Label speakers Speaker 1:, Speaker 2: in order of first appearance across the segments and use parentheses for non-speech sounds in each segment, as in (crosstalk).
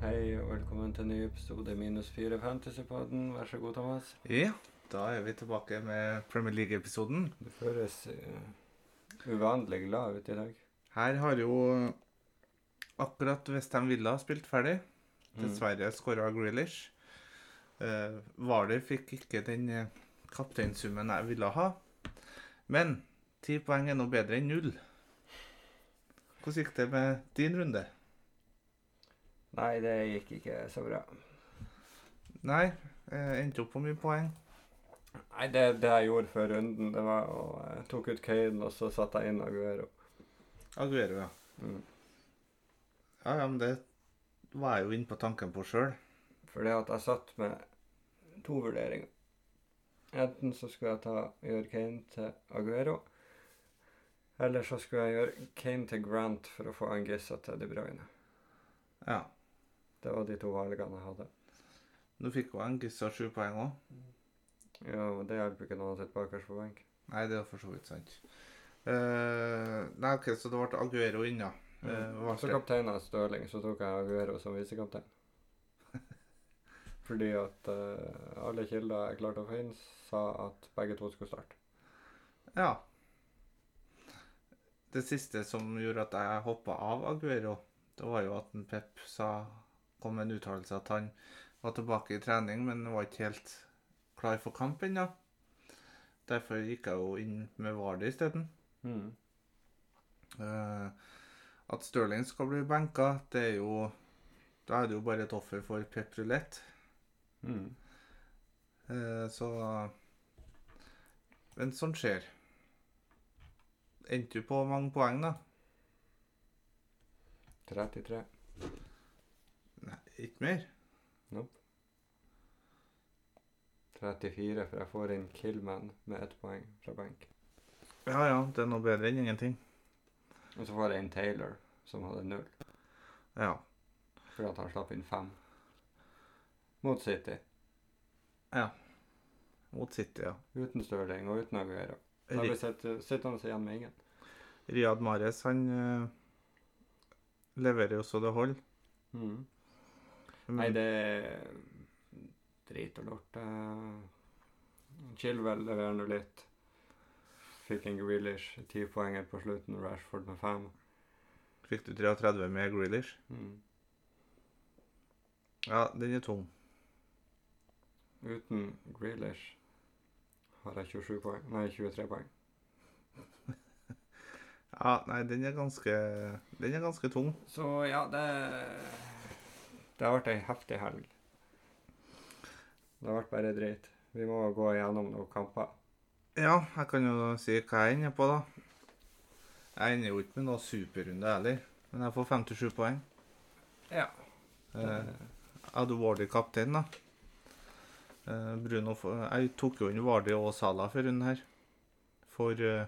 Speaker 1: Hei og velkommen til en ny episode minus fire Fantasypodden. Vær så god, Thomas.
Speaker 2: Ja, da er vi tilbake med Premier League-episoden.
Speaker 1: Du føles eh, uvanlig glad ut i dag.
Speaker 2: Her har jo akkurat Westham Villa spilt ferdig.
Speaker 1: Mm.
Speaker 2: Dessverre skåra Grealish. Eh, Hvaler fikk ikke den eh, kapteinsummen jeg ville ha. Men ti poeng er nå bedre enn null. Hvordan gikk det med din runde?
Speaker 1: Nei, det gikk ikke så bra.
Speaker 2: Nei, eh, endte opp på mye poeng.
Speaker 1: Nei, det, det jeg gjorde før runden, det var å Jeg tok ut Kane, og så satte jeg inn Aguero.
Speaker 2: Aguero, ja.
Speaker 1: Mm.
Speaker 2: Ja, ja, men det var jeg jo inne på tanken på sjøl.
Speaker 1: Fordi at jeg satt med to vurderinger. Enten så skulle jeg ta, gjøre Kane til Aguero, eller så skulle jeg gjøre Kane til Grant for å få Angissa til De Bruyne.
Speaker 2: Ja.
Speaker 1: Det var de to valgene jeg hadde.
Speaker 2: Nå fikk jo Angissa sju poeng òg.
Speaker 1: Ja, men det hjelper ikke når han sitter bakerst på benk.
Speaker 2: Nei, det er for så vidt sant. Eh, nei, ok, så det ble Aguero inn, ja. Eh, hva
Speaker 1: Mm. Så
Speaker 2: skjer?
Speaker 1: kapteinen av Stirling, så tok jeg Aguero som visekaptein. Fordi at eh, alle kilder jeg klarte å finne, sa at begge to skulle starte.
Speaker 2: Ja. Det siste som gjorde at jeg hoppa av Aguero, det var jo at en Pep sa, kom med en uttalelse at han var tilbake i trening, men var ikke helt klar for kamp ennå. Derfor gikk jeg jo inn med Vardy isteden. Eh, at Stirling skal bli benka, det er jo Da er det jo bare et offer for Pep Rulett.
Speaker 1: Mm.
Speaker 2: Eh, Så Men sånt skjer. Endte du på mange poeng, da?
Speaker 1: 33.
Speaker 2: Nei, ikke mer?
Speaker 1: 34, for jeg får inn Killman med ett poeng fra benk.
Speaker 2: Ja ja, det er noe bedre enn ingenting.
Speaker 1: Og så får jeg inn Taylor, som hadde null,
Speaker 2: Ja.
Speaker 1: fordi at han slapp inn fem. Mot City.
Speaker 2: Mot City, ja.
Speaker 1: Uten Stirling og uten Aguero. Da blir
Speaker 2: Ri-
Speaker 1: sitt- eh, sittende igjen med ingen.
Speaker 2: Riyad Mahrez, han eh, leverer jo så det holder.
Speaker 1: Mm.
Speaker 2: Men-
Speaker 1: Nei, det er drit og lort. eh. Chilwell leverer nå litt. Fikk en Grealish, ti poenger på slutten, Rashford med fem.
Speaker 2: Fikk du 33 med Grealish?
Speaker 1: Mm.
Speaker 2: Ja, den er tung.
Speaker 1: Uten Grealish har jeg 27 poeng, nei 23 poeng.
Speaker 2: Ja, nei, den er ganske Den er ganske tung.
Speaker 1: Så ja, det Det har vært ei heftig helg. Det har vært bare drit. Vi må gå igjennom noen kamper.
Speaker 2: Ja, jeg kan jo si hva jeg ender på, da. Jeg ender jo ikke med noe superrunde heller, men jeg får 57 poeng.
Speaker 1: Ja.
Speaker 2: Eh, jeg hadde Wardy kaptein, da. Eh, Bruno f- Jeg tok jo inn Wardy og Salah for runden her. For eh,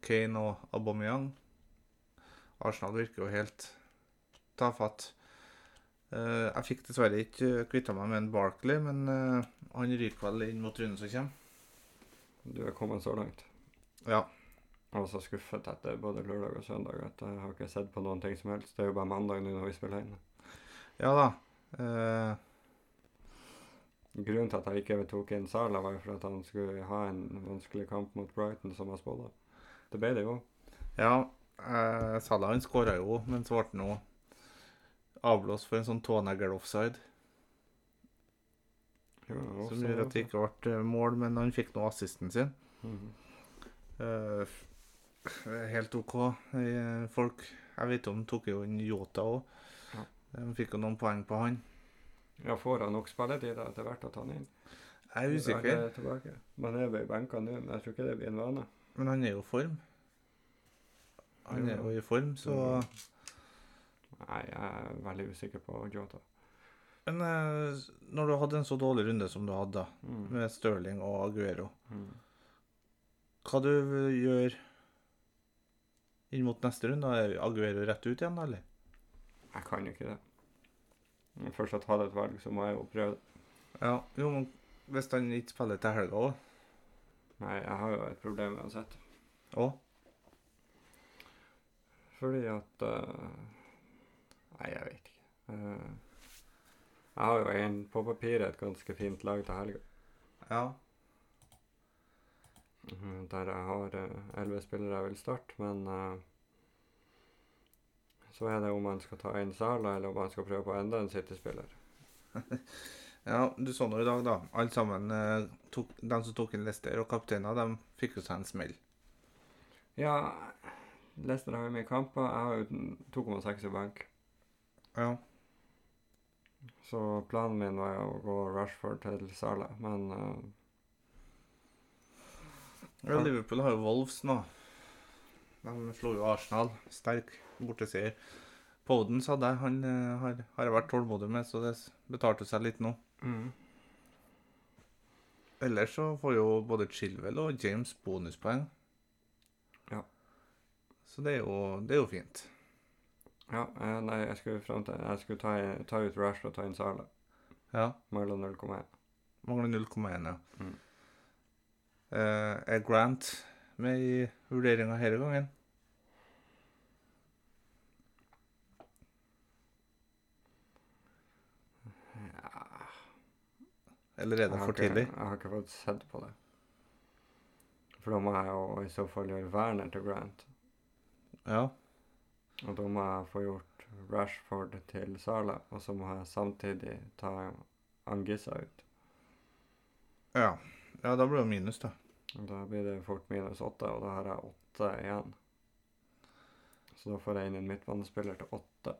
Speaker 2: Kane og Aubameyang. Arsenal virker jo helt tafatt. Eh, jeg fikk dessverre ikke kvitta meg med en Barkley, men eh, han ryker vel inn mot runden som kommer.
Speaker 1: Du er kommet så langt.
Speaker 2: Ja.
Speaker 1: Jeg var så skuffet etter både lørdag og søndag at jeg har ikke sett på noen ting som helst. Det er jo bare mandag nå når vi spiller inn.
Speaker 2: Ja da. Eh,
Speaker 1: Grunnen til at jeg ikke tok inn Sala, var jo for at han skulle ha en vanskelig kamp mot Brighton, som jeg spådde. Det ble det jo.
Speaker 2: Ja, eh, Salah han skåra jo, men så ble han jo avblåst for en sånn tånegl-offside.
Speaker 1: Jo,
Speaker 2: Som
Speaker 1: også-
Speaker 2: gjør at det ikke ble eh, mål, men han fikk nå assisten sin.
Speaker 1: Mhm.
Speaker 2: Eh, helt OK. Eh, Folk Jeg vet om tok jo inn Yota òg.
Speaker 1: Ja.
Speaker 2: De fikk jo noen poeng på han.
Speaker 1: Ja, får han nok spilletid etter hvert å ta han inn?
Speaker 2: Jeg er usikker,
Speaker 1: Er det tilbake? Men det blir benka nå, men jeg tror ikke det blir en vane.
Speaker 2: men han er jo i form. Han er jo i form, så
Speaker 1: Mm. Nei, jeg er veldig usikker på Jota.
Speaker 2: Men eh, når du hadde en så dårlig runde som du hadde, da,
Speaker 1: Mm.
Speaker 2: med Stirling og Aguero,
Speaker 1: Mm.
Speaker 2: Hva du eh, gjør inn mot neste runde? Er Aguero rett ut igjen, eller?
Speaker 1: Jeg kan jo ikke det. Men Først å ta det et valg, så må jeg jo prøve det.
Speaker 2: Ja, jo, men hvis han ikke spiller til helga òg.
Speaker 1: Nei, jeg har jo et problem uansett.
Speaker 2: Å,
Speaker 1: Fordi at eh, Nei, jeg vet ikke. Eh, Jeg har jo en på papiret et ganske fint lag til helga,
Speaker 2: Ja.
Speaker 1: mm, der jeg har eh, elleve spillere jeg vil starte, men eh, så er det om man skal ta inn Sala, eller om man skal prøve på enda en City-spiller.
Speaker 2: ja, du så nå i dag, da. Alle sammen, eh, tok, de som tok inn Lester og kapteiner, de fikk jo seg en smell.
Speaker 1: Ja, Leicester har jo mye kamper. Jeg har jo 2,6 i bank.
Speaker 2: Ja.
Speaker 1: Så planen min var jo å gå Rashford til Sala, men eh,
Speaker 2: Ja, Liverpool har jo Wolves nå. De slo jo Arsenal. Sterk borteseier. Poden sa det. Han eh, har, har jeg vært tålmodig med, så det s- betalte seg litt nå. Ellers så får jo både Chilwell og James bonuspoeng.
Speaker 1: Ja.
Speaker 2: Så det er jo, det er jo fint.
Speaker 1: Ja, eh, nei, jeg skulle frem til Jeg skulle ta, ta ut Rashford og ta inn Sala.
Speaker 2: Ja.
Speaker 1: Mangler 0,1.
Speaker 2: Mangler 0,1, ja.
Speaker 1: Mm.
Speaker 2: Eh, er Grant med i vurderinga denne gangen? Eller er
Speaker 1: Jeg
Speaker 2: det
Speaker 1: har
Speaker 2: for
Speaker 1: ikke-
Speaker 2: tidlig?
Speaker 1: Jeg har ikke fått sett på det. For da må jeg jo i så fall gjøre Werner til Grant.
Speaker 2: Ja.
Speaker 1: Og da må jeg få gjort Rashford til Sala, og så må jeg samtidig ta Angissa ut.
Speaker 2: ja. Ja, da blir det minus, da.
Speaker 1: Og Da blir det fort minus åtte, og da har jeg åtte igjen. Så da får jeg inn en midtbanespiller til åtte.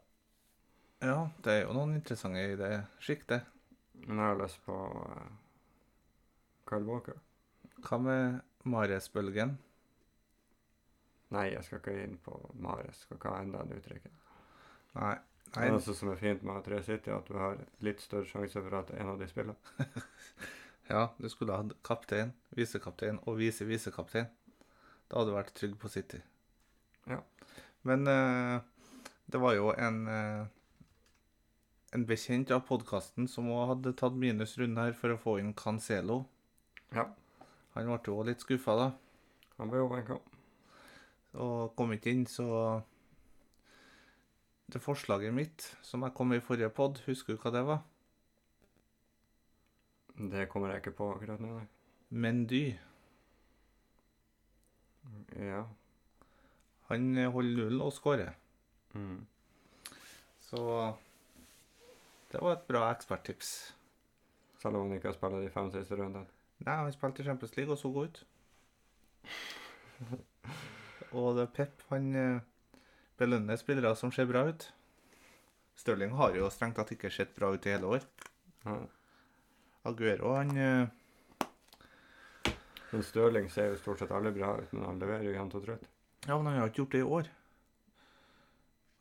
Speaker 2: Ja, det er jo noen interessante i det sjiktet.
Speaker 1: Men jeg har lyst på eh, Kyle Walker.
Speaker 2: Hva med Mares-bølgen?
Speaker 1: Nei, jeg skal ikke inn på Mares. Skal ikke ha enda en uttrykk.
Speaker 2: Nei.
Speaker 1: Det
Speaker 2: Nei.
Speaker 1: er også som er fint med A3 City, at du har litt større sjanse for at en av de spiller.
Speaker 2: Ja, du skulle hatt kaptein, visekaptein og vise-visekaptein. Da hadde du vært trygg på City.
Speaker 1: Ja.
Speaker 2: Men eh, det var jo en eh, en bekjent av podkasten som òg hadde tatt minusrunden her for å få inn Cancelo.
Speaker 1: Ja.
Speaker 2: Han ble jo også litt skuffa, da,
Speaker 1: Han bør jo benke om.
Speaker 2: og kom ikke inn, så Det forslaget mitt, som jeg kom med i forrige pod, husker du hva det var?
Speaker 1: Det kommer jeg ikke på akkurat nå. nei.
Speaker 2: Mendy.
Speaker 1: Ja.
Speaker 2: Han holder nullen og skårer.
Speaker 1: Mm.
Speaker 2: Så det var et bra eksperttips.
Speaker 1: Selv om han ikke har spilt de fem siste rundene.
Speaker 2: Nei, han spilte i Champions League og så god ut. og det er Pep, han eh, belønner spillere som ser bra ut. Stirling har jo strengt tatt ikke sett bra ut i hele år.
Speaker 1: Ja.
Speaker 2: Aguero, han eh,
Speaker 1: Men Stirling ser jo stort sett alle bra ut, men han leverer jo jevnt og trutt.
Speaker 2: Ja, men han har ikke gjort det i år.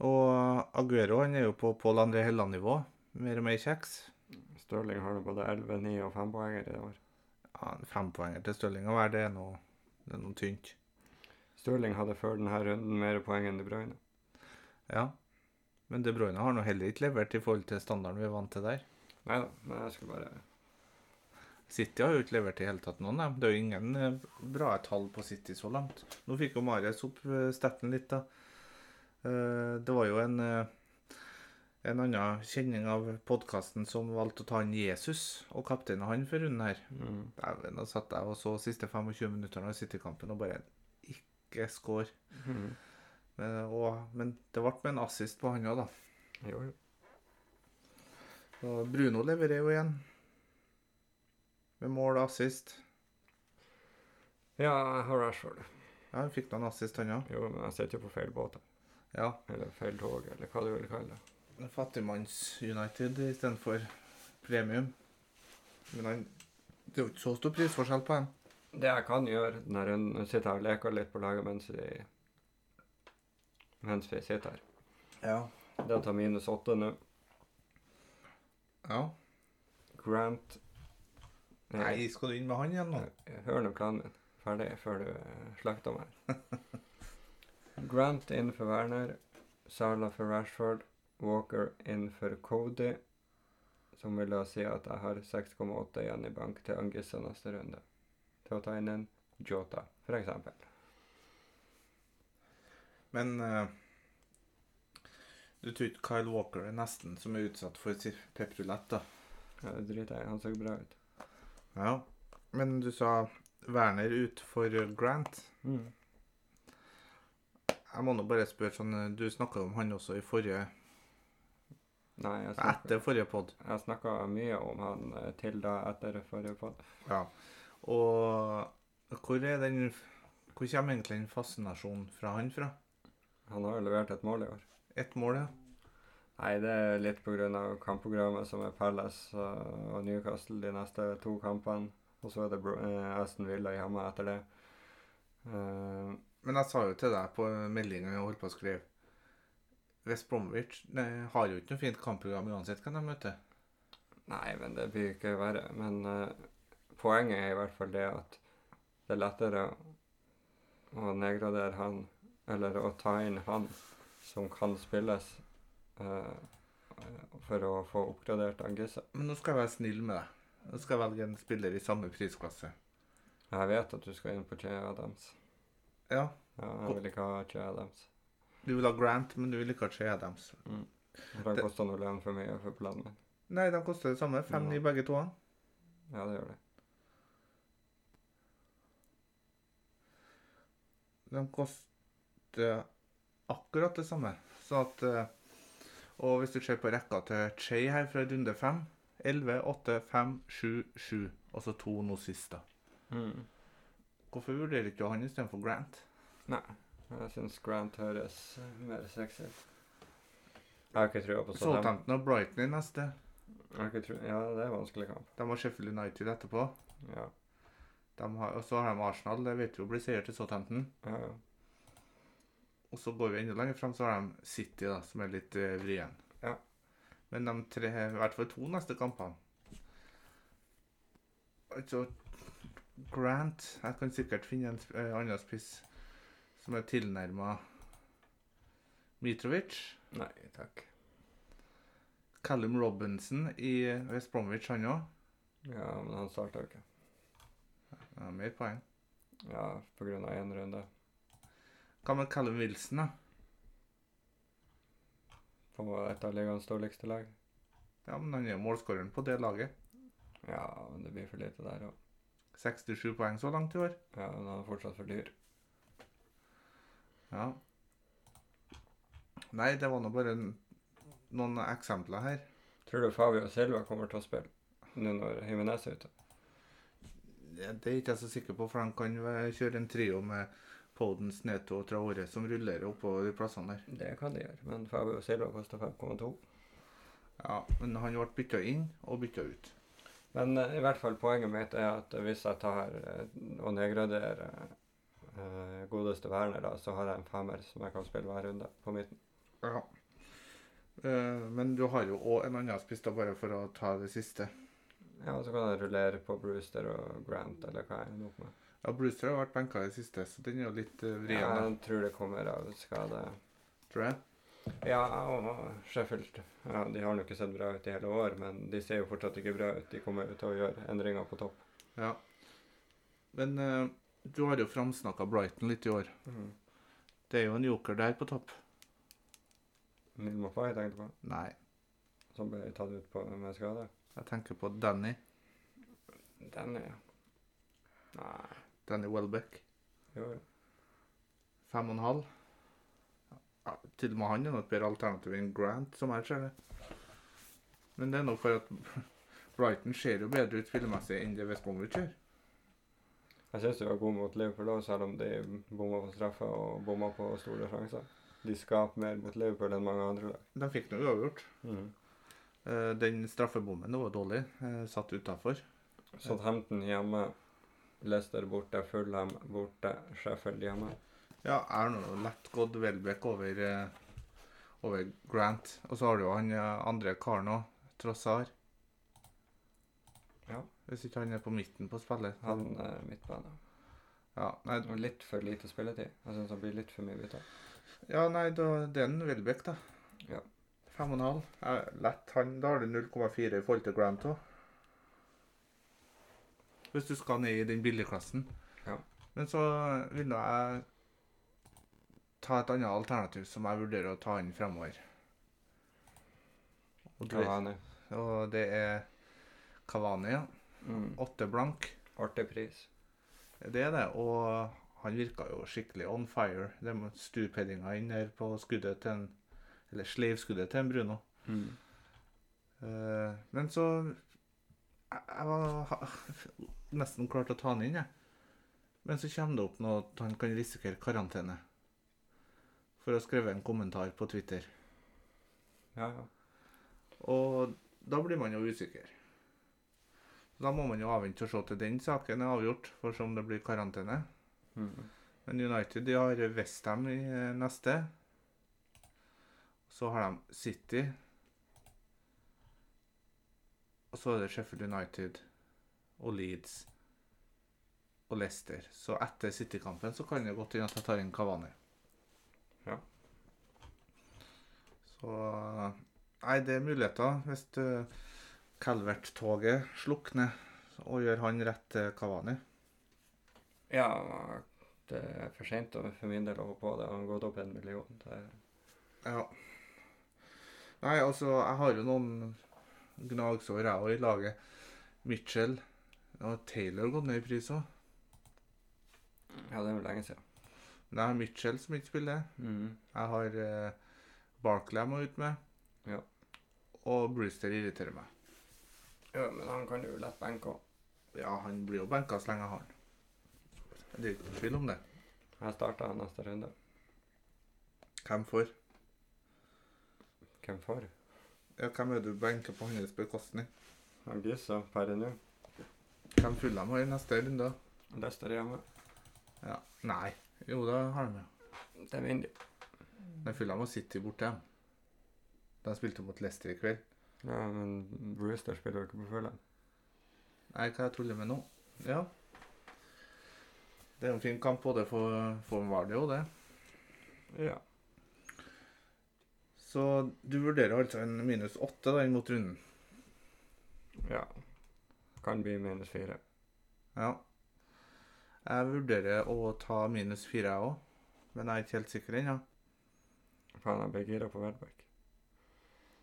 Speaker 2: Og Aguero, han er jo på Pål André Helland-nivå. Mer og mer kjeks.
Speaker 1: Stirling har nå både 11, 9 og 5 poenger i år.
Speaker 2: Ja, en Fempoenger til Stirling å være, det er noe, det er noe tynt.
Speaker 1: Stirling hadde før denne runden mer poeng enn De Bruyne.
Speaker 2: Ja. Men De Bruyne har nå heller ikke levert i forhold til standarden vi er vant til der.
Speaker 1: Nei da, men jeg skulle bare
Speaker 2: City har jo ikke levert i hele tatt noen, dem. Det er jo ingen eh, bra tall på City så langt. Nå fikk jo Marius opp eh, staten litt, da. Eh, Det var jo en eh, en annen kjenning av podkasten som valgte å ta inn Jesus og kapteinen han for runden her.
Speaker 1: mm.
Speaker 2: Dæven, da satt jeg og så siste 25 minuttene av City-kampen og bare ikke score.
Speaker 1: Mm.
Speaker 2: Men, og, men det ble med en assist på han òg, da.
Speaker 1: Jo, jo.
Speaker 2: Og Bruno leverer jo igjen. Med mål og assist.
Speaker 1: Ja, jeg har Rashford.
Speaker 2: Ja, han fikk noen assist, han òg.
Speaker 1: Jo, men jeg sitter jo på feil båt. her.
Speaker 2: Ja.
Speaker 1: Eller feil tog, eller hva du vil kalle det.
Speaker 2: Fattigmanns-United istedenfor premium. Men han Det er jo ikke så stor prisforskjell på han.
Speaker 1: Det jeg kan gjøre denne runden, er å sitte her og leke litt på laget mens vi, mens vi sitter her.
Speaker 2: Ja.
Speaker 1: Det tar minus åtte nå.
Speaker 2: ja.
Speaker 1: Grant eh,
Speaker 2: Nei, skal du inn med han igjen nå?
Speaker 1: Hør nå planen min. Ferdig før du eh, slakter meg. (laughs) Grant inn for Werner. Sala for Rashford. Walker inn for Cody. Som vil da si at jeg har 6,8 igjen i bank til Angissa neste runde. Til å ta inn en Jota, for eksempel.
Speaker 2: Men eh, Du tror ikke Kyle Walker er nesten som er utsatt for si- pepperulett, da?
Speaker 1: Ja, det driter jeg i. Han så bra ut.
Speaker 2: Ja. Men du sa Werner ut for Grant.
Speaker 1: Mm.
Speaker 2: Jeg må nå bare spørre sånn Du snakka om han også i forrige
Speaker 1: Nei, jeg snakker,
Speaker 2: Etter forrige pod.
Speaker 1: jeg snakka mye om han eh, til da etter forrige pod.
Speaker 2: Ja. Og hvor er den Hvor kommer egentlig den fascinasjonen fra han fra?
Speaker 1: Han har jo levert et mål i år.
Speaker 2: Ett mål, ja.
Speaker 1: Nei, det er litt pga. kampprogrammet som er Palace eh, og Newcastle de neste to kampene. Og så er det Bro- eh, Aston Villa i Hammer etter det. Eh,
Speaker 2: Men jeg sa jo til deg på meldinga jeg holdt på å skrive West Bromwich nei, har jo ikke noe fint kampprogram uansett hvem de møter.
Speaker 1: nei, men det blir ikke verre. Men eh, poenget er i hvert fall det at det er lettere å nedgradere han, eller å ta inn han som kan spilles, eh, for å få oppgradert han Gisse.
Speaker 2: Men nå skal jeg være snill med deg. Nå skal jeg velge en spiller i samme prisklasse.
Speaker 1: Jeg vet at du skal inn på Che Adams.
Speaker 2: Ja,
Speaker 1: Ja, jeg vil ikke ha Che Adams.
Speaker 2: du vil ha Grant, men du vil ikke ha Che Adams.
Speaker 1: For
Speaker 2: Det-
Speaker 1: det koster noe lønn for mye for planen min.
Speaker 2: Nei, de koster det samme. 5-9 begge to. han.
Speaker 1: Ja, det gjør det.
Speaker 2: De koster akkurat det samme. Sånn at eh, Og hvis du ser på rekka til Che her fra runde 5 11, 8, 5, 7, 7. Altså to nå sist, da. Hvorfor vurderer ikke du han istedenfor Grant?
Speaker 1: Nei, jeg syns Grant høres eh, mer sexy ut. Jeg har ikke trua på Southampton.
Speaker 2: Southampton og Brighton i neste.
Speaker 1: Jeg har ikke tru... Ja, det er en vanskelig kamp.
Speaker 2: De har Sheffield United etterpå.
Speaker 1: Ja,
Speaker 2: De har, og så har de Arsenal. Det vet vi jo blir seier til Southampton.
Speaker 1: ja, ja.
Speaker 2: Og så går vi enda lenger fram, så har de City, da, som er litt eh, vrien.
Speaker 1: Ja.
Speaker 2: Men de tre, i hvert fall to neste kampene Altså Grant Jeg kan sikkert finne en sp- eh, annen spiss som er tilnærma Mitrovic.
Speaker 1: Nei takk.
Speaker 2: Callum Robinson i eh, West Bromwich, han òg.
Speaker 1: Ja, men han starta jo ikke.
Speaker 2: Ja, mer poeng.
Speaker 1: Ja, på grunn av én runde.
Speaker 2: Hva med Callum Wilson, da?
Speaker 1: På et av ligaens dårligste lag.
Speaker 2: Ja, men han er jo målskåreren på det laget.
Speaker 1: Ja, men det blir for lite der òg.
Speaker 2: 67 poeng så langt i år.
Speaker 1: Ja, men han er fortsatt for dyr.
Speaker 2: Ja. Nei, det var nå bare en- noen eksempler her.
Speaker 1: Tror du Fabio Silva kommer til å spille nå når Jimenez er ute?
Speaker 2: Det det er ikke jeg så sikker på, for han kan være- kjøre en trio med Podens, Neto og Traore som rullerer oppover de plassene der.
Speaker 1: Det kan de gjøre, men Fabio Silva koster 5,2.
Speaker 2: Ja, Men han ble bytta inn og bytta ut.
Speaker 1: Men eh, i hvert fall poenget mitt er at hvis jeg tar eh, og nedgraderer eh, godeste Werner, da, så har jeg en femmer som jeg kan spille hver runde på midten.
Speaker 2: Ja. Eh, Men du har jo òg en annen spiss, da, bare for å ta det siste.
Speaker 1: Ja, og så kan jeg rullere på Brewster og Grant, eller hva jeg ender opp med.
Speaker 2: Ja, Brewster har vært benka i det siste, så den er jo litt eh, vrien, da,
Speaker 1: Jeg tror det kommer av skade.
Speaker 2: tror jeg.
Speaker 1: Ja, og Sheffield. Ja, de har jo ikke sett bra ut i hele år, men de ser jo fortsatt ikke bra ut. De kommer jo til å gjøre endringer på topp.
Speaker 2: Ja. Men eh, du har jo framsnakka Brighton litt i år. Det er jo en joker der på topp.
Speaker 1: Nilma Fay tenkte på,
Speaker 2: Nei,
Speaker 1: som ble tatt ut på, med skade.
Speaker 2: jeg tenker på Danny.
Speaker 1: Den er Nei,
Speaker 2: Danny Welbeck.
Speaker 1: jo, jo.
Speaker 2: Fem og en halv. Ja, til og med han er nok bedre alternativ enn Grant, som jeg ser det. Men det er nok for at (laughs) Brighton ser jo bedre ut spillemessig enn det West Bromwich gjør.
Speaker 1: Jeg syns de var gode mot Liverpool òg, selv om de bomma på straffer og bomma på store sjanser. De skaper mer mot Liverpool enn mange andre lag.
Speaker 2: De fikk noe uavgjort. Eh, Den straffebommen var dårlig, eh, satt utafor.
Speaker 1: Southampton hjemme, Leicester borte, Fulham borte, Sheffield hjemme.
Speaker 2: Ja, jeg har nå lett gått Welbeck over, eh, over Grant. Og så har du jo han eh, andre karen òg, Trossar.
Speaker 1: Ja.
Speaker 2: Hvis ikke han er på midten på spillet.
Speaker 1: Han eh, midtbane.
Speaker 2: Ja, nei,
Speaker 1: Og litt for lite spilletid. Jeg syns han blir litt for mye bytta.
Speaker 2: ja, nei da, det er en Welbeck, da.
Speaker 1: Ja.
Speaker 2: Fem og en halv. Ja, Lett han. Da har du 0,4 i forhold til Grant òg. Hvis du skal ned i den billigklassen.
Speaker 1: Ja.
Speaker 2: Men så vil nå jeg ta et annet alternativ som jeg vurderer å ta inn fremover. Og, du,
Speaker 1: Cavani.
Speaker 2: og det er Kavani, ja.
Speaker 1: Mm.
Speaker 2: Åtte blank.
Speaker 1: Artig pris.
Speaker 2: Det er det. Og han virka jo skikkelig on fire. Det med stupheadinga inn her på skuddet til en Eller sleivskuddet til en Bruno. Eh, men så Jeg, jeg var (laughs) ha- nesten klar til å ta han inn, jeg. Men så kommer det opp noe at han kan risikere karantene. For å ha skrevet en kommentar på Twitter.
Speaker 1: Ja, ja.
Speaker 2: Og da blir man jo usikker. Da må man jo avvente og se til den saken er avgjort, for som det blir karantene.
Speaker 1: Mm.
Speaker 2: Men United de har Westham i eh, neste. Så har de City. Og så er det Sheffield United og Leeds og Leicester. Så etter City-kampen så kan det godt hende at jeg tar inn Kavani.
Speaker 1: Ja.
Speaker 2: Så Nei, det er muligheter hvis eh, Calvert-toget slukner og gjør han rett til Kavani.
Speaker 1: ja, det er for seint for min del å hoppe på det. Han har gått opp en million. Det er
Speaker 2: Ja. Nei, altså, jeg har jo noen gnagsår, jeg òg, i laget. Mitchell og Taylor har gått ned i pris òg.
Speaker 1: ja, det er jo lenge siden.
Speaker 2: Men jeg har Mitchell som ikke spiller.
Speaker 1: Mm.
Speaker 2: Jeg har eh, Barkley jeg må ut med.
Speaker 1: Ja.
Speaker 2: Og Brewster irriterer meg.
Speaker 1: Ja, men han kan jo lett benke òg.
Speaker 2: Ja, han blir jo benka så lenge jeg har han. Det er ikke tvil om det.
Speaker 1: Jeg starta neste runde.
Speaker 2: Hvem får?
Speaker 1: Hvem får?
Speaker 2: Ja, hvem er det du benker på hans bekostning?
Speaker 1: Han Gissa per nå.
Speaker 2: Hvem fyller de i neste runde?
Speaker 1: Lester er hjemme.
Speaker 2: Ja. Nei. Jo, da har de jo.
Speaker 1: Det er Vindy.
Speaker 2: De fyller med City borte. dem. De spilte mot Leicester i kveld.
Speaker 1: Ja, men Brewster spiller jo ikke på fulle.
Speaker 2: Nei, hva jeg tuller med nå? Ja. Det er en fin kamp, og det for, for Vardø og det.
Speaker 1: Ja.
Speaker 2: Så du vurderer altså en minus åtte da inn mot runden?
Speaker 1: ja. Kan bli minus fire.
Speaker 2: Ja. Jeg vurderer å ta minus fire, jeg òg. Men jeg er ikke helt sikker ennå.
Speaker 1: Faen, jeg blir gira på Welbeck.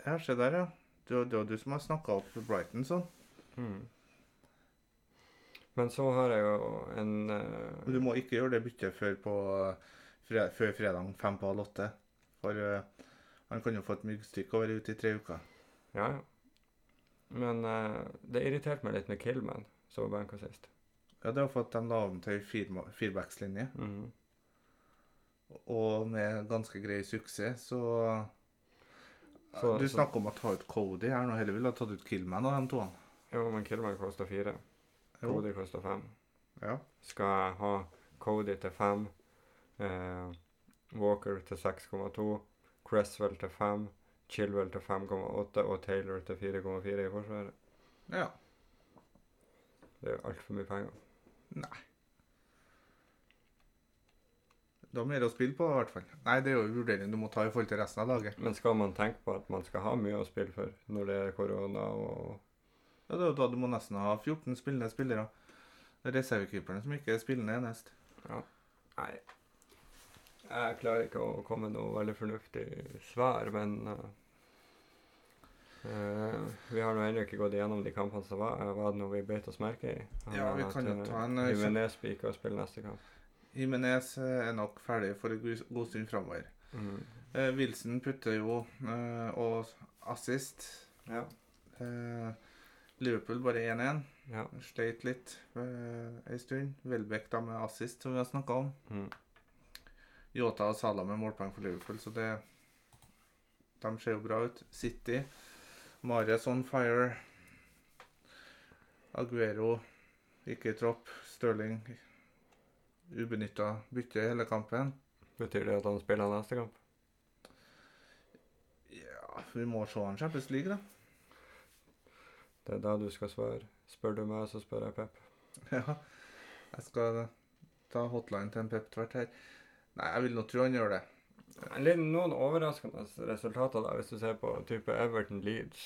Speaker 2: Ja, se der, ja. Det var- det var du som har snakka opp Brighton sånn.
Speaker 1: Mm. Men så har jeg jo en eh,
Speaker 2: Du må ikke gjøre det byttet før, på, fre før fredag fem på halv åtte. For eh, han kan jo få et myggstikk og være ute i tre uker.
Speaker 1: Ja, ja. Men eh, det irriterte meg litt med Killman, som var benka sist.
Speaker 2: Ja, det var for at de la om til firma- firebackslinje.
Speaker 1: Mm.
Speaker 2: Og med ganske grei suksess, så,
Speaker 1: Så-
Speaker 2: Du
Speaker 1: så-
Speaker 2: snakker om å ta ut Cody her nå. Heller ville ha tatt ut Killman av de to.
Speaker 1: Jo, men Killman kosta fire.
Speaker 2: Jo.
Speaker 1: Cody kosta fem.
Speaker 2: Ja.
Speaker 1: Skal jeg ha Cody til fem, eh, Walker til 6,2, Cresswell til fem, Chilwell til 5,8 og Taylor til 4,4 i forsvaret?
Speaker 2: ja.
Speaker 1: Det er altfor mye penger.
Speaker 2: Det var mer å spille på, i hvert fall. Nei, det er jo en vurdering du må ta i forhold til resten av laget.
Speaker 1: Men skal man tenke på at man skal ha mye å spille for når det er korona og
Speaker 2: Ja, det er jo da du må nesten ha 14 spillende spillere. Det er reservekeeperne som ikke er spillende enest.
Speaker 1: Nei. Jeg klarer ikke å komme med noe veldig fornuftig svar, men eh, eh, Vi har nå ennå ikke gått gjennom de kampene som var. Eh, Var det noe vi beit oss merke i?
Speaker 2: Ja, vi kan jo ta en, eh, kjapp-
Speaker 1: Jimenez blir ikke å spille neste kamp.
Speaker 2: Jimenez eh, er nok ferdig for en gu- god stund framover.
Speaker 1: Mm.
Speaker 2: Eh, Wilson putter jo eh, og assist.
Speaker 1: Ja.
Speaker 2: Eh, Liverpool bare 1-1.
Speaker 1: ja.
Speaker 2: Sleit litt eh, ei stund. Welbeck da med assist, som vi har snakka om.
Speaker 1: Mm.
Speaker 2: Yota og Salah med målpoeng for Liverpool, så det De ser jo bra ut. City. Marius on fire. Aguero ikke i tropp. Stirling ubenytta bytte hele kampen.
Speaker 1: Betyr det at han spiller neste kamp?
Speaker 2: Ja, vi må se han Champions League, da. (laughs)
Speaker 1: Det er da du skal svare. Spør du meg, så spør jeg Pep.
Speaker 2: Ja, jeg skal ta hotline til en peptvert her. Nei, jeg vil nå tro han gjør det.
Speaker 1: Litt, noen overraskende resultater da, hvis du ser på type Everton Leeds,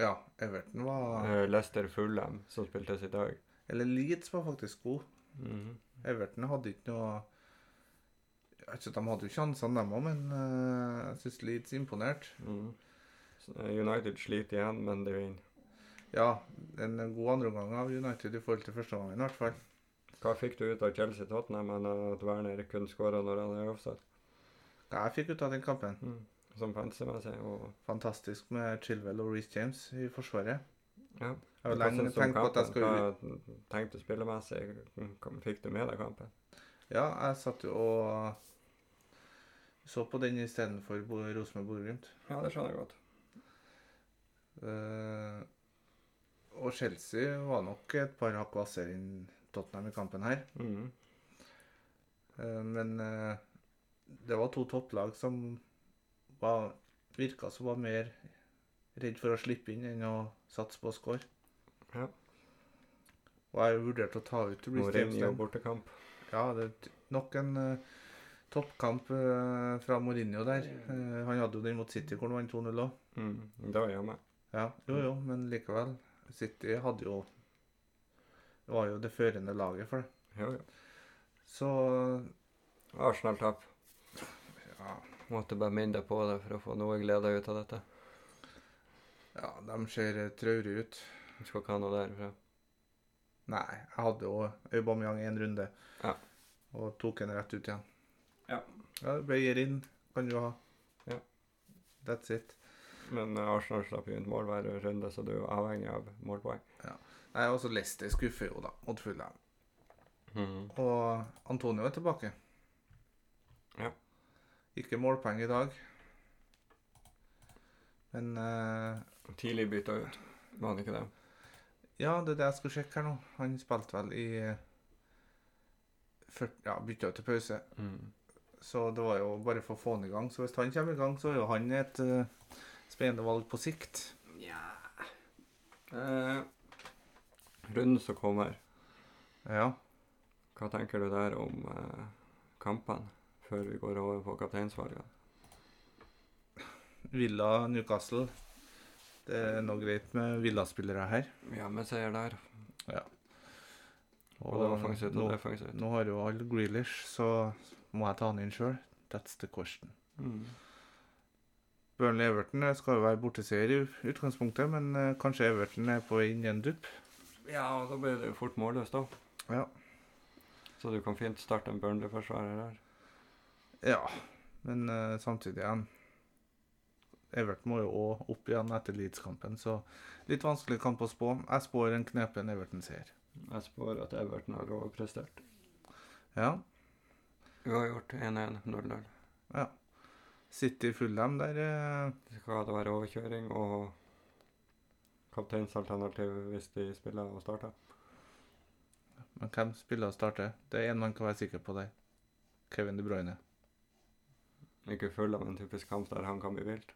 Speaker 2: Ja, Everton var
Speaker 1: eh, Leicester Fulham, som spiltes i dag.
Speaker 2: Eller Leeds var faktisk god.
Speaker 1: Mhm.
Speaker 2: Everton hadde ikke noe Jeg vet ikke, De hadde jo sjansene, dem òg, men eh, jeg syns Leeds imponerte.
Speaker 1: Mhm. United sliter igjen, men de vinner.
Speaker 2: Ja, en god andreomgang av United i forhold til første gangen, i hvert fall.
Speaker 1: Hva fikk du ut av Chelsea-Tottenham enn eh, at Werner kunne skåre når han er offside?
Speaker 2: Hva jeg fikk ut av den kampen?
Speaker 1: Mm. Som fansemessig. Og
Speaker 2: Fantastisk med Chilwell og Reece James i forsvaret.
Speaker 1: Ja.
Speaker 2: Jeg har jo lenge tenkt på at jeg skal ut.
Speaker 1: Hva tenkte du spillemessig? Mm, Kom- Fikk du med deg kampen?
Speaker 2: Ja, jeg satt jo og så på den istedenfor Bo- Rosenborg-Bodø-Glimt.
Speaker 1: Ja, det skjønner jeg godt.
Speaker 2: Eh, og Chelsea var nok et par hakk hvassere enn Tottenham i kampen her.
Speaker 1: Mm.
Speaker 2: Eh, men eh, det var to topplag som var, virka som var mer redd for å slippe inn enn å satse på å score.
Speaker 1: Ja.
Speaker 2: Og jeg har jo vurdert å ta ut Reece James.
Speaker 1: Mourinho
Speaker 2: den.
Speaker 1: bortekamp.
Speaker 2: Ja, det er t- nok en eh, toppkamp eh, fra Mourinho der. Eh, han hadde jo den mot City hvor han vant 2-0 òg.
Speaker 1: Mm. Det var hjemme.
Speaker 2: Ja, jo jo, men likevel. City hadde jo var jo det førende laget for det.
Speaker 1: Jo, jo.
Speaker 2: Så
Speaker 1: Arsenal-tap.
Speaker 2: ja,
Speaker 1: Måtte bare minne deg på det for å få noe glede ut av dette.
Speaker 2: ja de ser eh, traurige ut.
Speaker 1: Du skal ikke ha noe derfra.
Speaker 2: Nei, jeg hadde jo Aubameyang en runde.
Speaker 1: Ja.
Speaker 2: Og tok en rett ut igjen.
Speaker 1: Ja.
Speaker 2: ja Bøyer inn kan du ha.
Speaker 1: Ja.
Speaker 2: That's it.
Speaker 1: Men eh, Arsenal slapp jo inn mål hver runde, så du er avhengig av målpoeng.
Speaker 2: Nei, også Leicester skuffer jo, da, mot Fulham.
Speaker 1: Mm.
Speaker 2: Og Antonio er tilbake.
Speaker 1: Ja.
Speaker 2: Ikke målpoeng i dag. Men eh,
Speaker 1: Tidlig bytta ut, var han ikke det?
Speaker 2: Ja, det er det jeg skulle sjekke her nå. Han spilte vel i eh, 40, Ja, bytta jo til pause.
Speaker 1: Mm.
Speaker 2: Så det var jo bare for å få han i gang. Så hvis han kommer i gang, så er jo han et eh, spennende valg på sikt.
Speaker 1: Ja eh, Runden som kommer,
Speaker 2: Ja.
Speaker 1: hva tenker du der om eh, kampene? Før vi går over på kapteinsvalgene.
Speaker 2: Villa Newcastle. Det er noe greit med Villa-spillere her.
Speaker 1: Ja, med seier der.
Speaker 2: Og
Speaker 1: Både offensivt
Speaker 2: nå,
Speaker 1: og defensivt.
Speaker 2: nå har jo alle Grealish, så må jeg ta han inn sjøl. That's the question.
Speaker 1: Mm.
Speaker 2: Burnley Everton det skal jo være borteseier i utgangspunktet, men eh, kanskje Everton er på vei inn i en dupp.
Speaker 1: Ja, og da blir det jo fort målløst, da.
Speaker 2: Ja.
Speaker 1: Så du kan fint starte en Burnley-forsvarer der.
Speaker 2: Ja, men eh, samtidig igjen Everton må jo òg opp igjen etter Leeds-kampen, så litt vanskelig kamp å spå. Jeg spår en knepen Everton-seier.
Speaker 1: Jeg spår at Everton har overprestert.
Speaker 2: Ja.
Speaker 1: Uavgjort 1-1, 0-0.
Speaker 2: City Fulham der eh,
Speaker 1: Det skal da være overkjøring og kapteinsalternativ hvis de spiller og starter.
Speaker 2: Men hvem spiller og starter? Det er én man kan være sikker på der. Kevin De Bruyne.
Speaker 1: Ikke full av en typisk kamp der han kan bli vilt.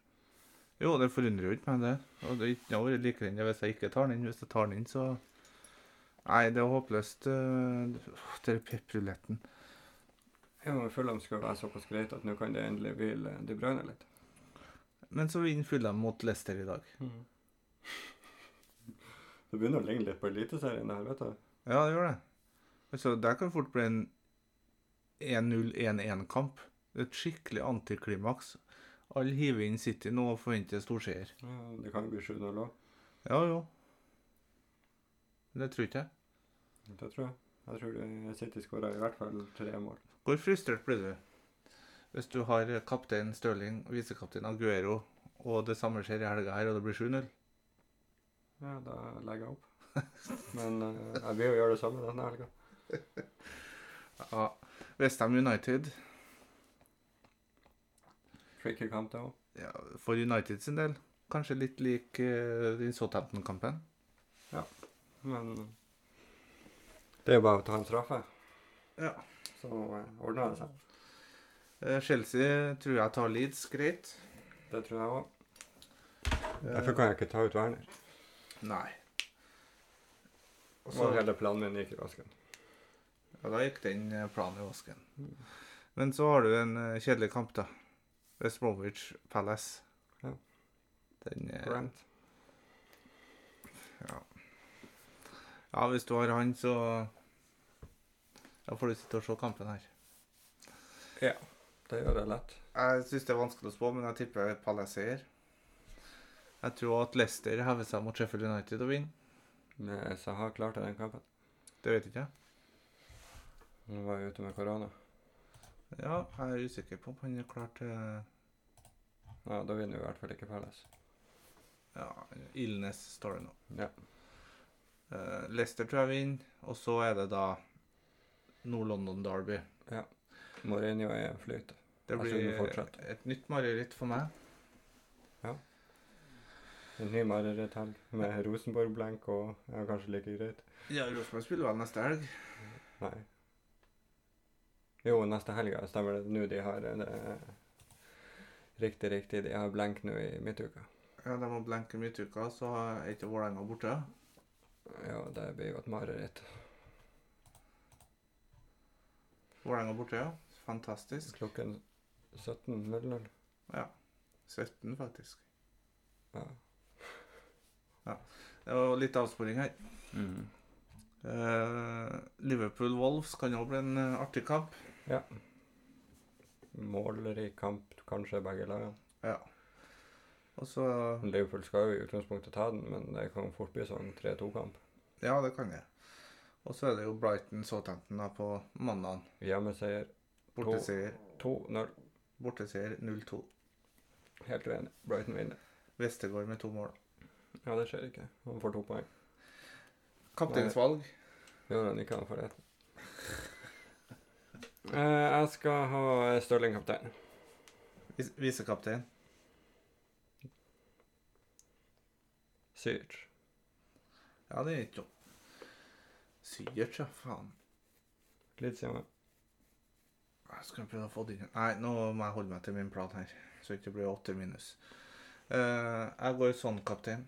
Speaker 2: Jo, det forundrer jo ikke meg, det. Og det er ikke noe jeg liker enn det hvis jeg ikke tar den inn. Hvis jeg tar den inn, så Nei, det er håpløst. Uh, det er pepruletten.
Speaker 1: Ja, men Fulham skal være såpass greit at nå kan det endelig hvile De Bruyne litt.
Speaker 2: Men så vinner Fulham mot Leicester i dag.
Speaker 1: (laughs) Det begynner å ligne litt på Eliteserien der, vet du.
Speaker 2: Ja, det gjør det. Altså, der kan fort bli en 1-0-1-1-kamp. Et skikkelig antiklimaks. Alle hiver inn City nå og forventer storseier.
Speaker 1: Ja, det kan jo bli 7-0 òg.
Speaker 2: Ja, jo. Men Det tror ikke jeg.
Speaker 1: Det tror jeg. Jeg tror det- City skårer i hvert fall tre mål.
Speaker 2: Hvor frustrert blir du hvis du har kaptein Stirling og visekaptein Aguero, og det samme skjer i helga her, og det blir 7-0?
Speaker 1: Ja, da legger jeg opp. Men eh, jeg vil jo gjøre det samme denne helga.
Speaker 2: Ja. Westham United
Speaker 1: Tricky kamp, det òg.
Speaker 2: ja, for United sin del kanskje litt lik uh, den Southampton-kampen.
Speaker 1: Men eh, det er jo bare å ta en straffe.
Speaker 2: Ja.
Speaker 1: Så eh, ordner det seg.
Speaker 2: Eh, Chelsea tror jeg tar Leeds greit.
Speaker 1: Det tror jeg òg.
Speaker 2: Eh,
Speaker 1: Derfor kan jeg ikke ta ut Werner.
Speaker 2: Nei. Og
Speaker 1: Så
Speaker 2: så,
Speaker 1: hele planen min gikk i vasken.
Speaker 2: ja, da gikk den eh, planen i vasken.
Speaker 1: Mm.
Speaker 2: Men så har du en eh, kjedelig kamp, da. West Bromwich Palace.
Speaker 1: Ja.
Speaker 2: Den eh,
Speaker 1: Brent.
Speaker 2: Ja, hvis du har han, så Da får du sitte og se kampen her.
Speaker 1: Det gjør jeg lett.
Speaker 2: Jeg syns det er vanskelig å spå, men jeg tipper Palace seier. Jeg tror at Leicester hever seg mot Sheffield United og vinner.
Speaker 1: Men Saha klarte den kampen.
Speaker 2: Det vet ikke jeg.
Speaker 1: Han var jo ute med korona.
Speaker 2: Ja, jeg er usikker på om han er klar til
Speaker 1: Ja, da vinner vi i hvert fall ikke Palace.
Speaker 2: Ja, Ilnes står det nå.
Speaker 1: Ja.
Speaker 2: Eh, Leicester tror jeg vinner, og så er det da Nord-London Derby.
Speaker 1: Mourinho er en flyt.
Speaker 2: Det
Speaker 1: Jeg
Speaker 2: blir
Speaker 1: skjønner fortsatt.
Speaker 2: et nytt mareritt for meg.
Speaker 1: En ny mareritthelg med Rosenborg-blenk og ja, kanskje like greit.
Speaker 2: Ja, Rosenborg spiller vel neste helg.
Speaker 1: Nei. Jo, neste helg ja, stemmer det. Nå de har eh, det Riktig, riktig. De har blenk nå i midtuka.
Speaker 2: Ja, De må blenke mye uka, så er ikke Vålerenga borte.
Speaker 1: Ja, det blir jo et mareritt.
Speaker 2: Vålerenga borte, ja. Fantastisk.
Speaker 1: Klokken 17.00.
Speaker 2: Ja. 17, faktisk.
Speaker 1: Ja.
Speaker 2: Det var litt avsporing her. Eh, Liverpool-Wolves kan jo bli en eh, artig kamp.
Speaker 1: Målrik kamp, kanskje, begge lagene.
Speaker 2: Ja. Og så
Speaker 1: Liverpool skal jo i utgangspunktet ta den, men det kan fort bli sånn 3-2-kamp.
Speaker 2: Ja, det kan jeg. Og så er det jo Brighton-Southampton da på mandag.
Speaker 1: Hjemmeseier
Speaker 2: Borteseier.
Speaker 1: 2-0.
Speaker 2: Borteseier 0-2.
Speaker 1: Helt uenig. Brighton vinner.
Speaker 2: Vestergaard med to mål.
Speaker 1: Ja, det skjer ikke. Han får to poeng.
Speaker 2: Kapteinsvalg.
Speaker 1: Gjør han ikke, han
Speaker 2: (laughs)
Speaker 1: får ett. Eh, jeg skal ha Stirling kaptein.
Speaker 2: Vis visekaptein.
Speaker 1: Syrt.
Speaker 2: Ja, det er ikke noe. Syert, ja. Faen.
Speaker 1: Litt siden meg.
Speaker 2: Jeg skal prøve å få det inn. Nei, nå må jeg holde meg til min plan her. Så ikke det blir åtte minus. Eh, jeg går sånn, kaptein.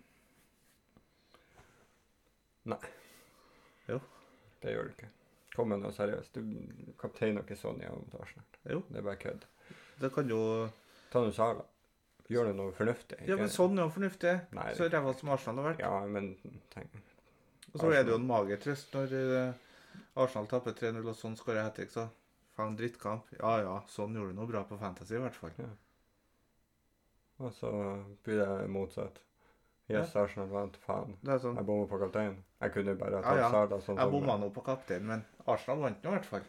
Speaker 1: Det gjør du ikke. Kom med noe seriøst. Du kaptein er ikke sånn i omtasjen.
Speaker 2: Jo.
Speaker 1: Det er bare kødd.
Speaker 2: Det kan jo
Speaker 1: Ta nå Sala. Gjør du noe fornuftig.
Speaker 2: Ja,
Speaker 1: ikke-
Speaker 2: men sånn er jo fornuftig.
Speaker 1: Nei,
Speaker 2: Så ræva som Arsenal har vært.
Speaker 1: ja, men tenk.
Speaker 2: Og så er det jo en magertrøst når eh, Arsenal taper 3-0, og sånn skårer hat trick, så faen drittkamp. Ja ja, sånn gjorde du noe bra på Fantasy, i hvert fall.
Speaker 1: Og så blir det motsatt. Yes, Arsenal vant. Faen.
Speaker 2: Det er sånn.
Speaker 1: Jeg bomma på kapteinen. Jeg kunne bare tatt
Speaker 2: Ja, ja.
Speaker 1: Sala sånn
Speaker 2: Jeg bomma nå på kapteinen, men Arsenal vant nå, i hvert fall.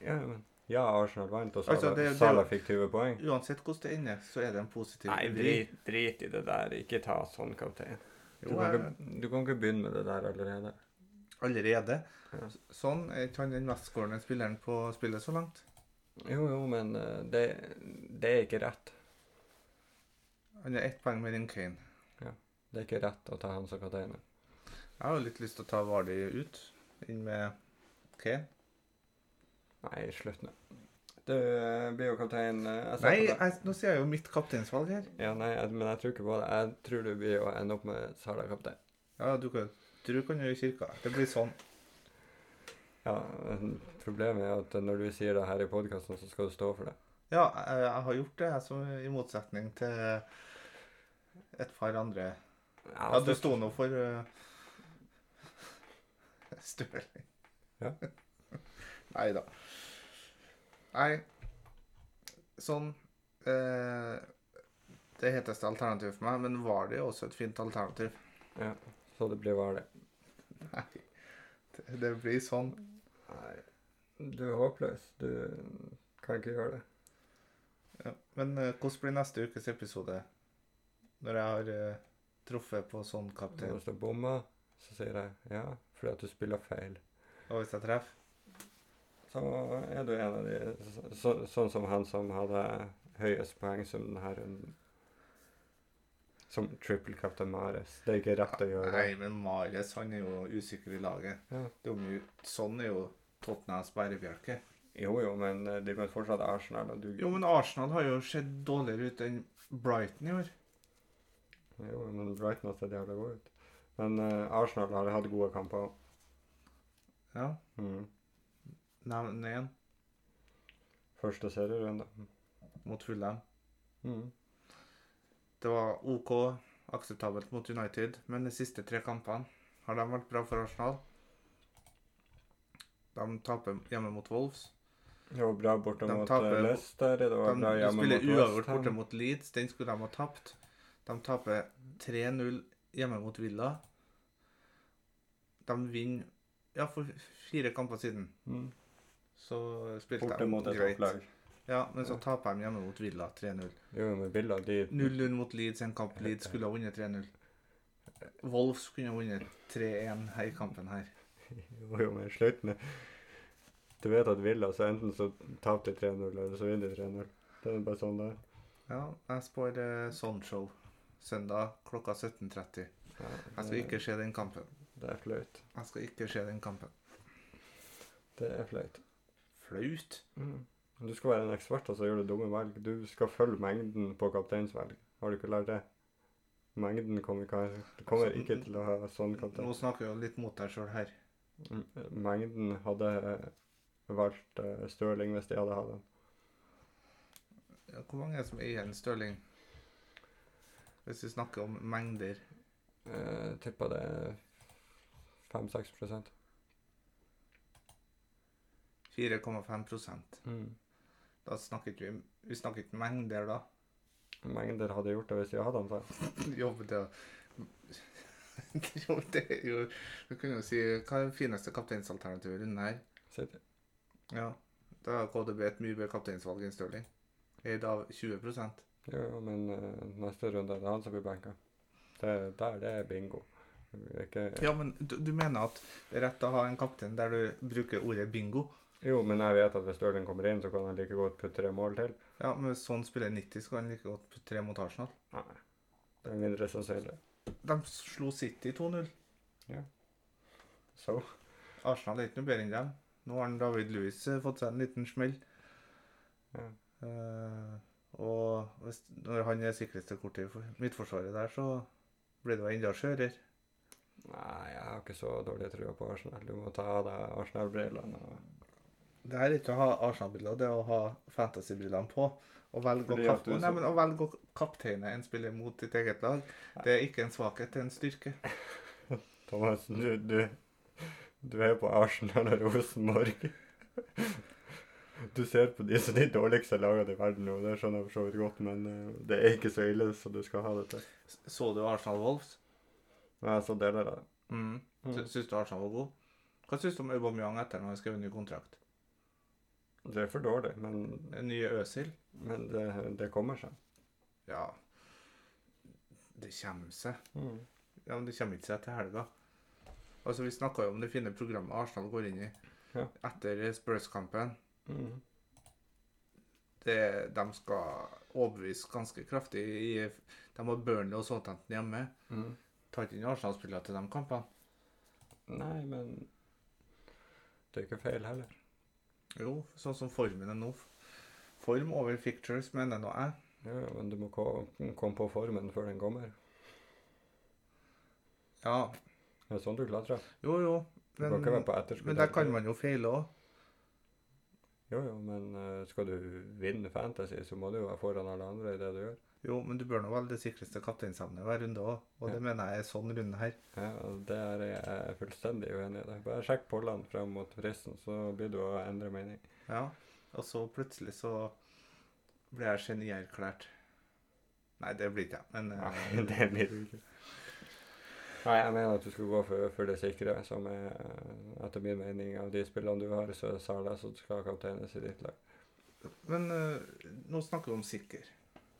Speaker 1: Ja, men. ja, Arsenal vant, og Sala,
Speaker 2: Altså, det- det-
Speaker 1: Sala fikk 20 poeng.
Speaker 2: Uansett hvordan det ender, så er det en positiv vri.
Speaker 1: drit i det der. Ikke ta sånn kaptein. Du,
Speaker 2: Jo,
Speaker 1: kan
Speaker 2: jeg,
Speaker 1: ikke, du kan ikke begynne med det der allerede.
Speaker 2: allerede.
Speaker 1: Ja.
Speaker 2: Sånn er ikke han den mestskårende spilleren på spillet så langt.
Speaker 1: Jo, jo, men eh, det, det er ikke rett.
Speaker 2: Han er ett poeng mer enn Kane.
Speaker 1: Det er ikke rett å ta han som kaptein.
Speaker 2: Jeg har jo litt lyst til å ta Vardy ut, inn med Kane.
Speaker 1: Nei, slutt nå. Du eh, blir jo kaptein. eh, Jeg ser
Speaker 2: Nei,
Speaker 1: på deg.
Speaker 2: jeg, nå sier jeg jo mitt kapteinsvalg her.
Speaker 1: Ja, nei, jeg, men jeg tror ikke på det. Jeg tror du blir å ende opp med Sala kaptein.
Speaker 2: Ja, du kan, du kan jo i kirka. Det blir sånn.
Speaker 1: Ja, men Problemet er at når du sier det her i podkasten, så skal du stå for det.
Speaker 2: Ja, jeg, jeg har gjort det, jeg, som, i motsetning til et par andre. Ja,
Speaker 1: altså,
Speaker 2: du sto nå for (laughs) uh, Støling. (laughs)
Speaker 1: Ja.
Speaker 2: Nei da. Nei, sånn eh, Det heteste alternativet for meg, men var det jo også et fint alternativ? (laughs)
Speaker 1: Så det blir bare det.
Speaker 2: Nei. Det, det blir sånn.
Speaker 1: Nei. Du er håpløs. Du kan ikke gjøre det.
Speaker 2: Ja. Men eh, hvordan blir neste ukes episode? Når jeg har eh, truffet på sånn
Speaker 1: Så
Speaker 2: kaptein,
Speaker 1: hvis du bommer, så sier jeg ja, fordi at du spiller feil.
Speaker 2: og hvis jeg treffer?
Speaker 1: Så er du en av de så- så, Sånn som han som hadde høyest poengsum denne runden. Som triple captain Mares. Det er ikke rett å gjøre
Speaker 2: Nei,
Speaker 1: det.
Speaker 2: men Mares han er jo usikker i laget.
Speaker 1: Ja.
Speaker 2: Det er jo mye- sånn er jo Tottenhams bærebjelke.
Speaker 1: Jo jo, men eh, de kan fortsatt ha Arsenal, og du
Speaker 2: Jo, men Arsenal har jo sett dårligere ut enn Brighton i år.
Speaker 1: Jo, men Brighton har sett jævla gode ut. Men eh, Arsenal har hatt gode kamper òg.
Speaker 2: Ja,
Speaker 1: Mm.
Speaker 2: Nevn én
Speaker 1: Første serierunde.
Speaker 2: mot Fulham.
Speaker 1: Mm.
Speaker 2: Det var OK, akseptabelt mot United, men de siste tre kampene har de vært bra for Arsenal. De taper hjemme mot Wolves.
Speaker 1: Det var bra borte
Speaker 2: De
Speaker 1: mot
Speaker 2: taper
Speaker 1: eh,
Speaker 2: mot-
Speaker 1: Leicester, det var
Speaker 2: De,
Speaker 1: bra
Speaker 2: de
Speaker 1: hjemme
Speaker 2: spiller
Speaker 1: mot West
Speaker 2: uavgjort
Speaker 1: Ham.
Speaker 2: borte mot Leeds. Den skulle de ha tapt. De taper 3-0 hjemme mot Villa. De vinner Ja, for fire kamper siden
Speaker 1: Mm.
Speaker 2: så spilte
Speaker 3: Borte mot
Speaker 2: de
Speaker 3: et
Speaker 2: greit.
Speaker 3: topplag.
Speaker 2: Ja, men så taper de hjemme mot Villa 3-0.
Speaker 1: Det er jo med bilder de (laughs)
Speaker 2: 0-0 mot Leeds, en kamp Leeds skulle ha vunnet 3-0. Wolves kunne ha vunnet 3-1 her i kampen her.
Speaker 1: Jo, jo, men slutt med Du vet at Villa, så enten så tapte de 3-0, eller så vinner de 3-0. Det er bare sånn det er.
Speaker 2: Ja, jeg spår eh, Sonshow søndag klokka 17.30.
Speaker 1: Ja,
Speaker 2: Jeg skal Altså, ikke se den kampen.
Speaker 1: Det er flaut.
Speaker 2: Jeg skal ikke se den kampen.
Speaker 1: Det er flaut. Mm.
Speaker 2: Flaut.
Speaker 1: Du skal være en ekspert og så gjør du dumme valg. Du skal følge mengden på kapteinsvalg. Har du ikke lært det? Mengden kommer, ikke- det kommer ikke til å ha sånn kaptein.
Speaker 2: Nå snakker jeg jo litt mot deg sjøl her.
Speaker 1: Mengden hadde eh, valgt eh, Stirling hvis de hadde hatt den.
Speaker 2: Ja, Hvor mange er det som er igjen Stirling? Hvis vi snakker om mengder
Speaker 1: Uh, Tippa det er 5-6 prosent.
Speaker 2: 4,5
Speaker 1: Mm.
Speaker 2: Da snakker ikke vi Vi snakker ikke mengder, da.
Speaker 1: Mengder hadde gjort det hvis de hadde den selv.
Speaker 2: Jobb det (laughs) Jo, det er jo Du kan jo si Hva er det fineste kapteinsalternativet i runden her?
Speaker 1: City.
Speaker 2: Ja. Da er KDB et mye bedre kapteinsvalg enn Stirling. Eid av 20
Speaker 1: Jo, jo, men eh, neste runde er det han som blir benka. Det, der, det er bingo. Vi er Ikke,
Speaker 2: Ja, men du, du mener at det er rett å ha en kaptein der du bruker ordet bingo?
Speaker 1: Jo, men jeg vet at hvis Stirling kommer inn, så kan han like godt putte tre mål til.
Speaker 2: Ja, men hvis sånn spiller 90, så kan han like godt putte tre mot Arsenal.
Speaker 1: Nei. Det er mindre sannsynlig.
Speaker 2: De slo City 2-0.
Speaker 1: Så
Speaker 2: Arsenal er ikke noe bedre enn dem. Nå har David Lewis eh, fått seg en liten smell.
Speaker 1: Ja.
Speaker 2: Eh, og hvis, når han er sikreste kortet i for- midtforsvaret der, så blir det jo enda skjørere.
Speaker 1: Nei, jeg har ikke så dårlig trua på Arsenal. Du må ta av deg Arsenal-brillene. og-
Speaker 2: Det her er ikke å ha Arsenal-briller, det er å ha fantasy-brillene på. Å velge, å,
Speaker 3: Fordi at
Speaker 2: kap
Speaker 3: du så-
Speaker 2: Nei, men å velge å kapteine en spiller mot ditt eget lag, det er ikke en svakhet, det er en styrke.
Speaker 1: Thomas, du, du, du er på Arsenal og Rosenborg. Du ser på de som de dårligste lagene i verden nå, det skjønner jeg for så vidt godt, men eh, det er ikke så ille som du skal ha det til.
Speaker 2: S- Så du Arsenal-Wolves?
Speaker 1: Men jeg så deler av det.
Speaker 2: Mm.
Speaker 1: Mm.
Speaker 2: Syns du Arsenal var god? Hva syns du om Aubameyang etter når han skrev en ny kontrakt?
Speaker 1: Det er for dårlig, men,
Speaker 2: En ny Øsil?
Speaker 1: men det, det kommer seg.
Speaker 2: Ja, det kommer seg.
Speaker 1: Mm.
Speaker 2: Ja, men det kommer ikke seg til helga. Altså, Vi snakka jo om det fine programmet Arsenal går inn i
Speaker 1: Ja.
Speaker 2: etter Spurs-kampen.
Speaker 1: Mm.
Speaker 2: Det- De skal overbevise ganske kraftig. i- De har Burnley og Southampton hjemme.
Speaker 1: Mm.
Speaker 2: Tar ikke inn Arsenal-spillere til de kampene.
Speaker 1: Nei, men det er ikke feil heller.
Speaker 2: Jo, sånn som formen er nå. Form over fictures, mener nå jeg.
Speaker 1: Jo, jo, men du må ko- komme på formen før den kommer.
Speaker 2: Ja,
Speaker 1: Det er sånn du klatrer.
Speaker 2: jo, jo.
Speaker 1: Du kan ikke
Speaker 2: Men,
Speaker 1: være på etterskudd.
Speaker 2: men der
Speaker 1: hele
Speaker 2: kan
Speaker 1: tiden.
Speaker 2: man jo feile òg.
Speaker 1: Jo, jo, men eh, skal du vinne Fantasy, så må du jo være foran alle andre i det du gjør.
Speaker 2: Jo, men du bør nå velge det sikreste kapteinsemnet hver runde òg. Og det mener jeg er sånn runde her.
Speaker 1: Ja, og det er jeg fullstendig uenig i. det. Bare sjekk pollene frem mot fristen, så blir du å endre mening. (laughs)
Speaker 2: Ja, og så plutselig så ble jeg genierklært. Nei, det blir ikke jeg, men eh,
Speaker 1: Nei, det blir du ikke. Nei, jeg mener at du skal gå for, for det sikre, som er eh, etter min mening av de spillene du har, så er det Sala som skal kapteines i ditt lag.
Speaker 2: Men eh, nå snakker vi om sikker.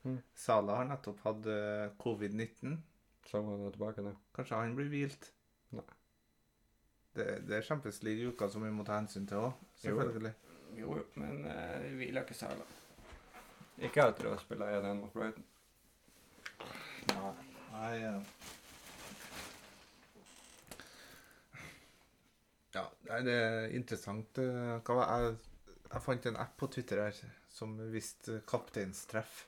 Speaker 1: Mm.
Speaker 2: Sala har nettopp hatt eh, covid-19.
Speaker 1: Så må han er tilbake nå.
Speaker 2: Kanskje han blir hvilt?
Speaker 1: Nei.
Speaker 2: Det, det er Champions League i uka som vi må ta hensyn til òg,
Speaker 1: Jo.
Speaker 2: selvfølgelig.
Speaker 1: Jo, men uh, hviler ikke Sala. Ikke etter å spille 1-1 mot Brighton.
Speaker 2: Nei. eh. Ja, nei, det er interessant. eh, Hva var jeg, jeg fant en app på Twitter her som viste kapteinstreff.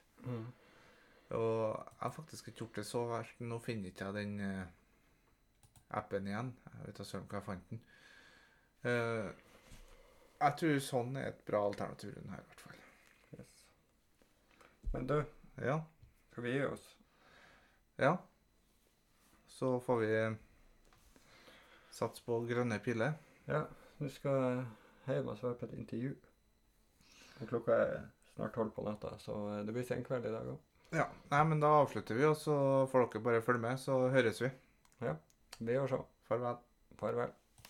Speaker 2: Og jeg har faktisk ikke gjort det så verst. Nå finner ikke jeg den eh, appen igjen. Jeg vet da søren hvor jeg fant den. Eh, jeg tror sånn er et bra alternativ rundt her, i hvert fall.
Speaker 1: Yes. Men du,
Speaker 2: Ja.
Speaker 1: skal vi gi oss?
Speaker 2: ja. Så får vi eh, satse på grønne piler.
Speaker 1: Ja, nå skal jeg hjem og svare på et intervju. Og klokka er snart tolv på natta, så eh, det blir senkveld i dag òg.
Speaker 2: Ja. Nei, men da avslutter vi, og så får dere bare følge med, så høres vi.
Speaker 1: Vi gjør så.
Speaker 2: Farvel.
Speaker 1: Farvel.